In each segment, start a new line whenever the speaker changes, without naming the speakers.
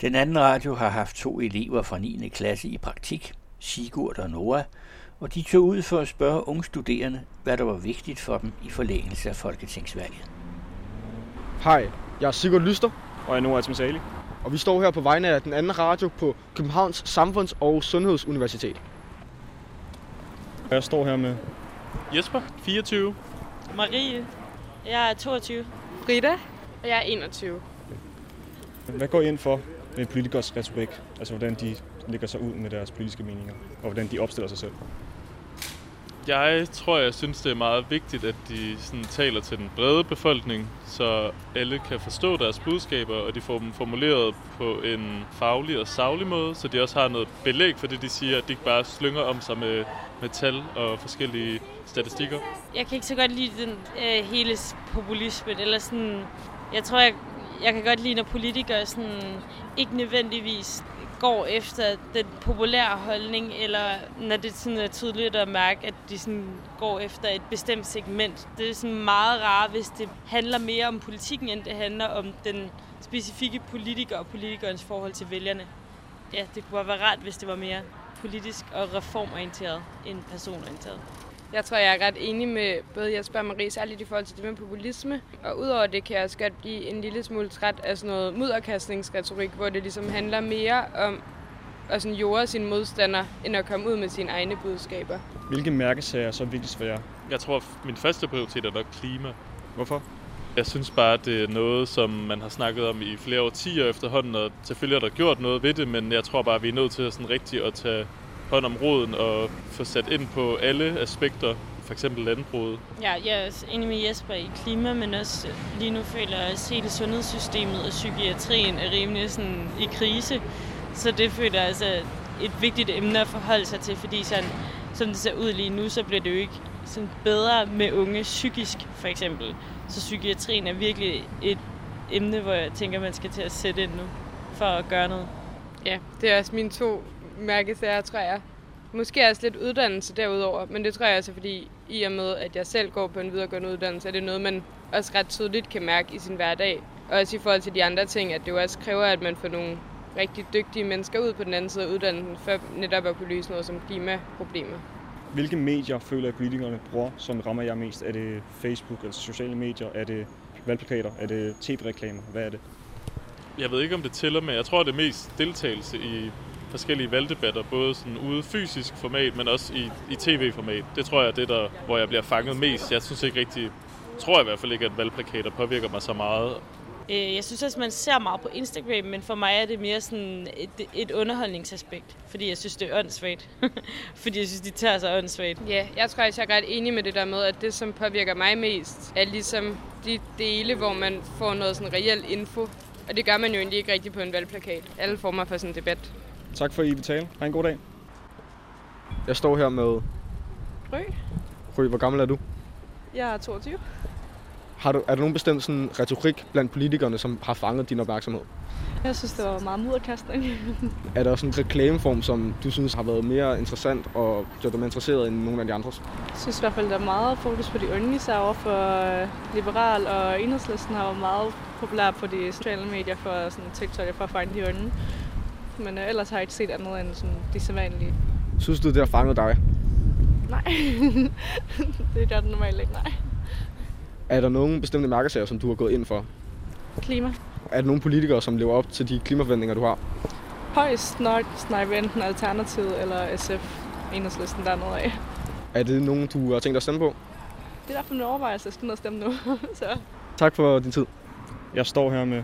Den anden radio har haft to elever fra 9. klasse i praktik, Sigurd og Nora, og de tog ud for at spørge unge studerende, hvad der var vigtigt for dem i forlængelse af Folketingsvalget.
Hej, jeg er Sigurd Lyster,
Og jeg er Noah Atmosali.
og vi står her på vegne af den anden radio på Københavns Samfunds- og Sundhedsuniversitet.
Jeg står her med
Jesper, 24.
Marie. Jeg er 22.
Frida.
Og jeg er 21.
Hvad går I ind for med politikers retorik? Altså hvordan de lægger sig ud med deres politiske meninger, og hvordan de opstiller sig selv.
Jeg tror, jeg synes, det er meget vigtigt, at de sådan taler til den brede befolkning, så alle kan forstå deres budskaber, og de får dem formuleret på en faglig og savlig måde, så de også har noget belæg for det, de siger, at de ikke bare slynger om sig med, med tal og forskellige statistikker.
Jeg kan ikke så godt lide den øh, hele s- populismen, eller sådan... Jeg tror, jeg, jeg kan godt lide, når politikere sådan, ikke nødvendigvis går efter den populære holdning, eller når det sådan er tydeligt at mærke, at de sådan går efter et bestemt segment. Det er sådan meget rart, hvis det handler mere om politikken, end det handler om den specifikke politiker og politikernes forhold til vælgerne. Ja, det kunne bare være rart, hvis det var mere politisk og reformorienteret end personorienteret.
Jeg tror, jeg er ret enig med både Jesper og Marie, særligt i forhold til det med populisme. Og udover det kan jeg også godt blive en lille smule træt af sådan noget mudderkastningsretorik, hvor det ligesom handler mere om at sådan jorde sine modstandere, end at komme ud med sine egne budskaber.
Hvilke mærkesager er så vigtigst for jer?
Jeg tror, min første prioritet er nok klima.
Hvorfor?
Jeg synes bare, det er noget, som man har snakket om i flere årtier efterhånden, og selvfølgelig er der gjort noget ved det, men jeg tror bare, vi er nødt til sådan rigtigt at tage hånd om roden og få sat ind på alle aspekter, for eksempel landbruget.
Ja, jeg er også enig med Jesper i klima, men også øh, lige nu føler jeg også hele sundhedssystemet og psykiatrien er rimelig sådan i krise. Så det føler jeg altså er et vigtigt emne at forholde sig til, fordi sådan, som det ser ud lige nu, så bliver det jo ikke sådan bedre med unge psykisk, for eksempel. Så psykiatrien er virkelig et emne, hvor jeg tænker, man skal til at sætte ind nu for at gøre noget.
Ja, det er også mine to mærkesager, tror jeg. Måske også lidt uddannelse derudover, men det tror jeg også, er, fordi i og med, at jeg selv går på en videregående uddannelse, er det noget, man også ret tydeligt kan mærke i sin hverdag. Og også i forhold til de andre ting, at det jo også kræver, at man får nogle rigtig dygtige mennesker ud på den anden side af uddannelsen, for netop at kunne løse noget som klimaproblemer.
Hvilke medier føler I, politikerne bruger, som rammer jer mest? Er det Facebook, altså sociale medier? Er det valgplakater? Er det tv-reklamer? Hvad er det?
Jeg ved ikke, om det tæller, men jeg tror, det er mest deltagelse i forskellige valgdebatter, både sådan ude fysisk format, men også i, i tv-format. Det tror jeg er det, der, hvor jeg bliver fanget mest. Jeg synes ikke rigtig, tror jeg i hvert fald ikke, at valgplakater påvirker mig så meget,
Øh, Jeg synes også, man ser meget på Instagram, men for mig er det mere sådan et, et underholdningsaspekt. Fordi jeg synes, det er åndssvagt. fordi jeg synes, de tager sig åndssvagt.
Ja, jeg tror også, jeg er ret enig med det der med, at det, som påvirker mig mest, er ligesom de dele, hvor man får noget sådan reelt info. Og det gør man jo egentlig ikke rigtigt på en valgplakat. Alle former for sådan en debat.
Tak for, at I vil tale. Ha' en god dag.
Jeg står her med...
Rø.
Rø, hvor gammel er du?
Jeg er 22.
Har du, er der nogen bestemt sådan retorik blandt politikerne, som har fanget din opmærksomhed?
Jeg synes, det var meget mudderkastning.
Er der sådan en reklameform, som du synes har været mere interessant og gjort dig mere interesseret end nogen af de andres?
Jeg synes i hvert fald, der er meget fokus på de unge, især over for øh, Liberal og Enhedslisten har været meget populær på de sociale medier for sådan TikTok for at fange de unge. Men øh, ellers har jeg ikke set andet end sådan de sædvanlige.
Synes du, det har fanget dig?
Nej, det gør det normalt ikke. Nej.
Er der nogen bestemte mærkesager, som du har gået ind for?
Klima.
Er der nogen politikere, som lever op til de klimaforventninger, du har?
Højst nok snipe enten Alternativet eller SF. Enhedslisten dernede af.
Er det nogen, du har tænkt dig at stemme på?
Det er i hvert fald min overvejelse, at jeg skal ned og stemme nu. så.
Tak for din tid.
Jeg står her med...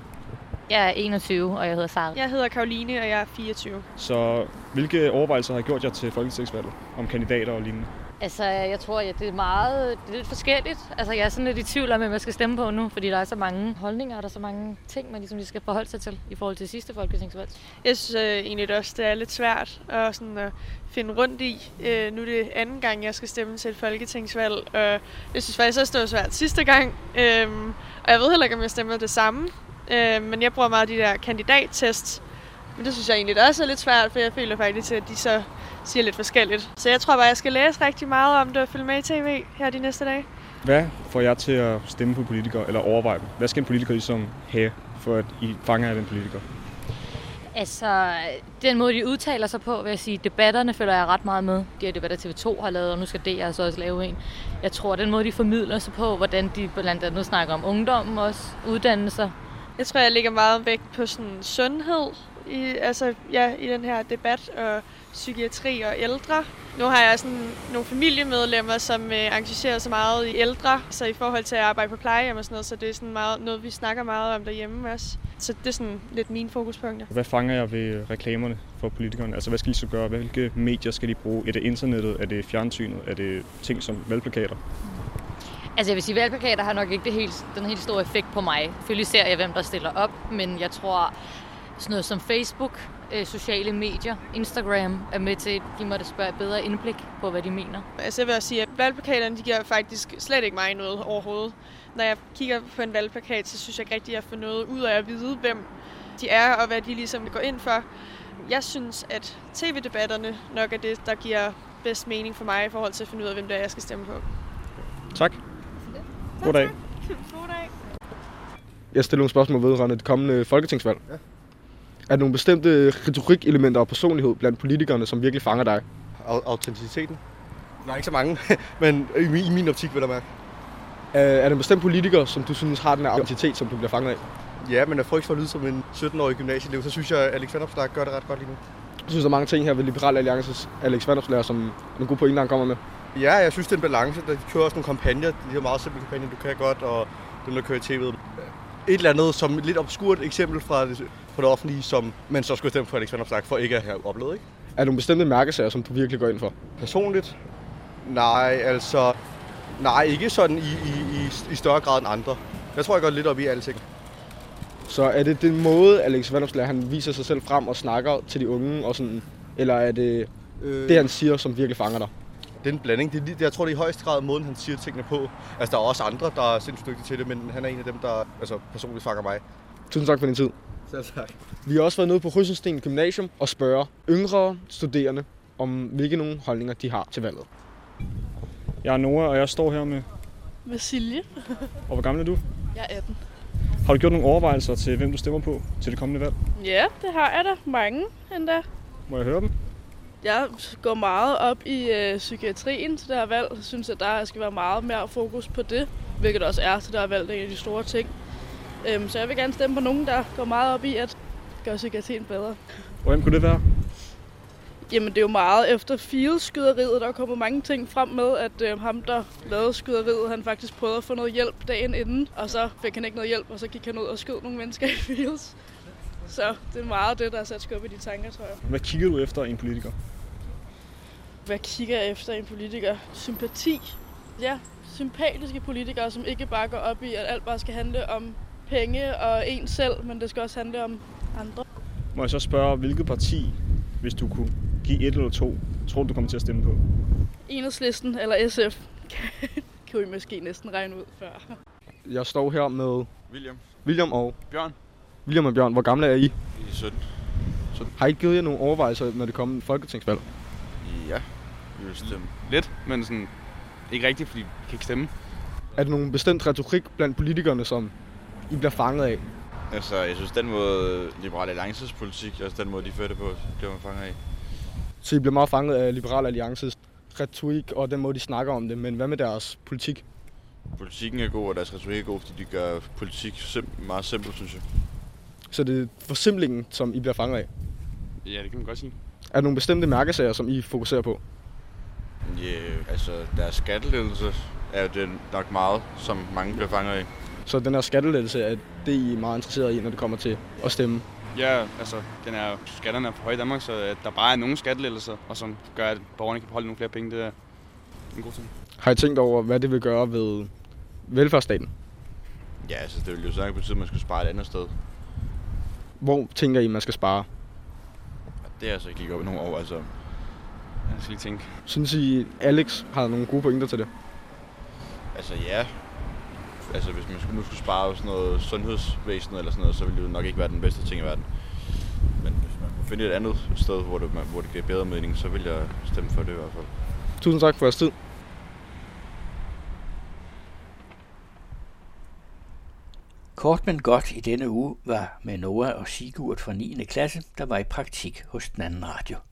Jeg er 21, og jeg hedder Sara.
Jeg hedder Karoline, og jeg er 24.
Så hvilke overvejelser har I gjort jer til folketingsvalget om kandidater og lignende?
Altså, jeg tror, at det er meget det er lidt forskelligt. Altså, jeg er sådan lidt i tvivl om, hvad man skal stemme på nu, fordi der er så mange holdninger, og der er så mange ting, man ligesom lige skal forholde sig til i forhold til sidste folketingsvalg.
Jeg synes øh, egentlig det også, det er lidt svært at, sådan, at finde rundt i. Øh, nu er det anden gang, jeg skal stemme til et folketingsvalg, og jeg synes faktisk også, det var svært sidste gang. Øh, og jeg ved heller ikke, om jeg stemmer det samme, øh, men jeg bruger meget de der kandidattest. Men det synes jeg egentlig også er lidt svært, for jeg føler faktisk, at de så siger lidt forskelligt. Så jeg tror bare, jeg skal læse rigtig meget om det og følge med i tv her de næste dage.
Hvad får jer til at stemme på politikere, eller overveje dem? Hvad skal en politiker ligesom have, for at I fanger af den politiker?
Altså, den måde, de udtaler sig på, vil jeg sige, debatterne følger jeg ret meget med. De her debatter TV2 har lavet, og nu skal DR så også lave en. Jeg tror, den måde, de formidler sig på, hvordan de blandt andet snakker om ungdommen også, uddannelser.
Jeg tror, jeg lægger meget vægt på sådan sundhed i, altså, ja, i den her debat, og psykiatri og ældre. Nu har jeg sådan nogle familiemedlemmer, som øh, engagerer sig meget i ældre, så i forhold til at arbejde på plejehjem og sådan noget, så det er sådan meget, noget, vi snakker meget om derhjemme også. Så det er sådan lidt mine fokuspunkter.
Hvad fanger jeg ved øh, reklamerne for politikerne? Altså, hvad skal de så gøre? Hvilke medier skal de bruge? Er det internettet? Er det fjernsynet? Er det ting som valgplakater?
Altså jeg vil sige, valgplakater har nok ikke det helt, den helt store effekt på mig. Selvfølgelig ser jeg, hvem der stiller op, men jeg tror, sådan noget som Facebook, øh, sociale medier, Instagram er med til at give mig spørge et bedre indblik på, hvad de mener.
Altså jeg vil også sige, at valgplakaterne de giver faktisk slet ikke mig noget overhovedet. Når jeg kigger på en valgplakat, så synes jeg ikke rigtig, at jeg får noget ud af at vide, hvem de er og hvad de ligesom går ind for. Jeg synes, at tv-debatterne nok er det, der giver bedst mening for mig i forhold til at finde ud af, hvem det er, jeg skal stemme på.
Tak. God dag.
God dag.
Jeg stiller nogle spørgsmål vedrørende det kommende folketingsvalg. Ja. Er der nogle bestemte retorikelementer og personlighed blandt politikerne, som virkelig fanger dig?
Autenticiteten? Der er ikke så mange, men i min, i min optik vil der være.
Øh, Er der en bestemt politiker, som du synes har den her identitet, som du bliver fanget af?
Ja, men af frygt for at lyde som en 17-årig gymnasieelev, så synes jeg, at Alex Vandopslag gør det ret godt lige nu.
Jeg synes, der er mange ting her ved Liberal Alliances Alex Vandopslag, som nogle gode pointer, han kommer med.
Ja, jeg synes, det er en balance. Der kører også nogle kampagner. De her meget simple kampagner, du kan godt, og dem, der kører i tv'et. Et eller andet som et lidt obskurt eksempel fra det, fra det offentlige, som man så skulle stemme for Alex Vandopslag, for ikke at have oplevet, ikke?
Er der nogle bestemte mærkesager, som du virkelig går ind for?
Personligt? Nej, altså... Nej, ikke sådan i, i, i, i større grad end andre. Jeg tror, jeg går lidt op i alting.
Så er det den måde, Alex Vandopslag, han viser sig selv frem og snakker til de unge og sådan? Eller er det øh... det, han siger, som virkelig fanger dig?
Det er en blanding. Det er, lige- jeg tror, det er i højeste grad måden, han siger tingene på. Altså, der er også andre, der er sindssygt dygtige til det, men han er en af dem, der altså, personligt fanger mig.
Tusind tak for din tid.
Selv tak.
Vi har også været nede på Rysselsten Gymnasium og spørger yngre studerende om, hvilke nogle holdninger de har til valget.
Jeg er Nora, og jeg står her med...
Med Silje.
Og hvor gammel er du?
Jeg er 18.
Har du gjort nogle overvejelser til, hvem du stemmer på til det kommende valg?
Ja, det har jeg da. Mange endda.
Må jeg høre dem?
Jeg går meget op i øh, psykiatrien til det her valg. Jeg synes, at der skal være meget mere fokus på det, hvilket også er til det her valg. Det er en af de store ting. Øhm, så jeg vil gerne stemme på nogen, der går meget op i at gøre psykiatrien bedre.
Og hvem kunne det være?
Jamen, det er jo meget efter Fields-skyderiet, der kommer mange ting frem med, at øh, ham, der lavede skyderiet, han faktisk prøvede at få noget hjælp dagen inden, og så fik han ikke noget hjælp, og så gik han ud og skød nogle mennesker i Fields. Så det er meget det, der har sat skub i de tanker, tror jeg.
Hvad kigger du efter i en politiker?
Hvad kigger jeg efter i en politiker? Sympati. Ja, sympatiske politikere, som ikke bare går op i, at alt bare skal handle om penge og en selv, men det skal også handle om andre.
Må jeg så spørge, hvilket parti, hvis du kunne give et eller to, tror du, du kommer til at stemme på?
Enhedslisten eller SF kan vi måske næsten regne ud før.
Jeg står her med
William.
William og
Bjørn.
William og Bjørn. Hvor gamle er I?
I er 17.
Har I givet jer nogle overvejelser, når det kommer folketingsvalg?
Ja, vi vil stemme lidt, men sådan ikke rigtigt, fordi vi kan ikke stemme.
Er der nogen bestemt retorik blandt politikerne, som I bliver fanget af?
Altså, jeg synes, den måde Liberale Alliances politik, altså den måde, de fører det på, det var man fanger af.
Så I bliver meget fanget af Liberal Alliances retorik og den måde, de snakker om det. Men hvad med deres politik?
Politikken er god, og deres retorik er god, fordi de gør politik sim- meget simpelt, synes jeg.
Så det er forsimplingen, som I bliver fanget af.
Ja, det kan man godt sige.
Er der nogle bestemte mærkesager, som I fokuserer på?
Ja, yeah, altså deres skattelettelse er jo den nok meget, som mange bliver fanget af.
Så den her skattelettelse er det, I er meget interesseret i, når det kommer til at stemme.
Ja, altså, den er, skatterne er for høje i Danmark, så at der bare er nogle skattelettelser, og som gør, at borgerne kan beholde nogle flere penge, det er en god ting.
Har I tænkt over, hvad det vil gøre ved velfærdsstaten?
Ja, altså det ville jo så ikke betyde, at man skulle spare et andet sted.
Hvor tænker I, man skal spare?
Og det er altså ikke gik op i nogle år, altså.
Jeg skal lige tænke.
Synes I, Alex har nogle gode pointer til det?
Altså ja, altså hvis man skulle- nu skulle spare på sådan noget sundhedsvæsen eller sådan noget, så ville det jo nok ikke være den bedste ting i verden. Men hvis man kunne finde et andet sted, hvor det, hvor det giver bedre mening, så ville jeg stemme for det i hvert fald.
Tusind tak for jeres tid.
Kort men godt i denne uge var med Noah og Sigurd fra 9. klasse, der var i praktik hos den anden radio.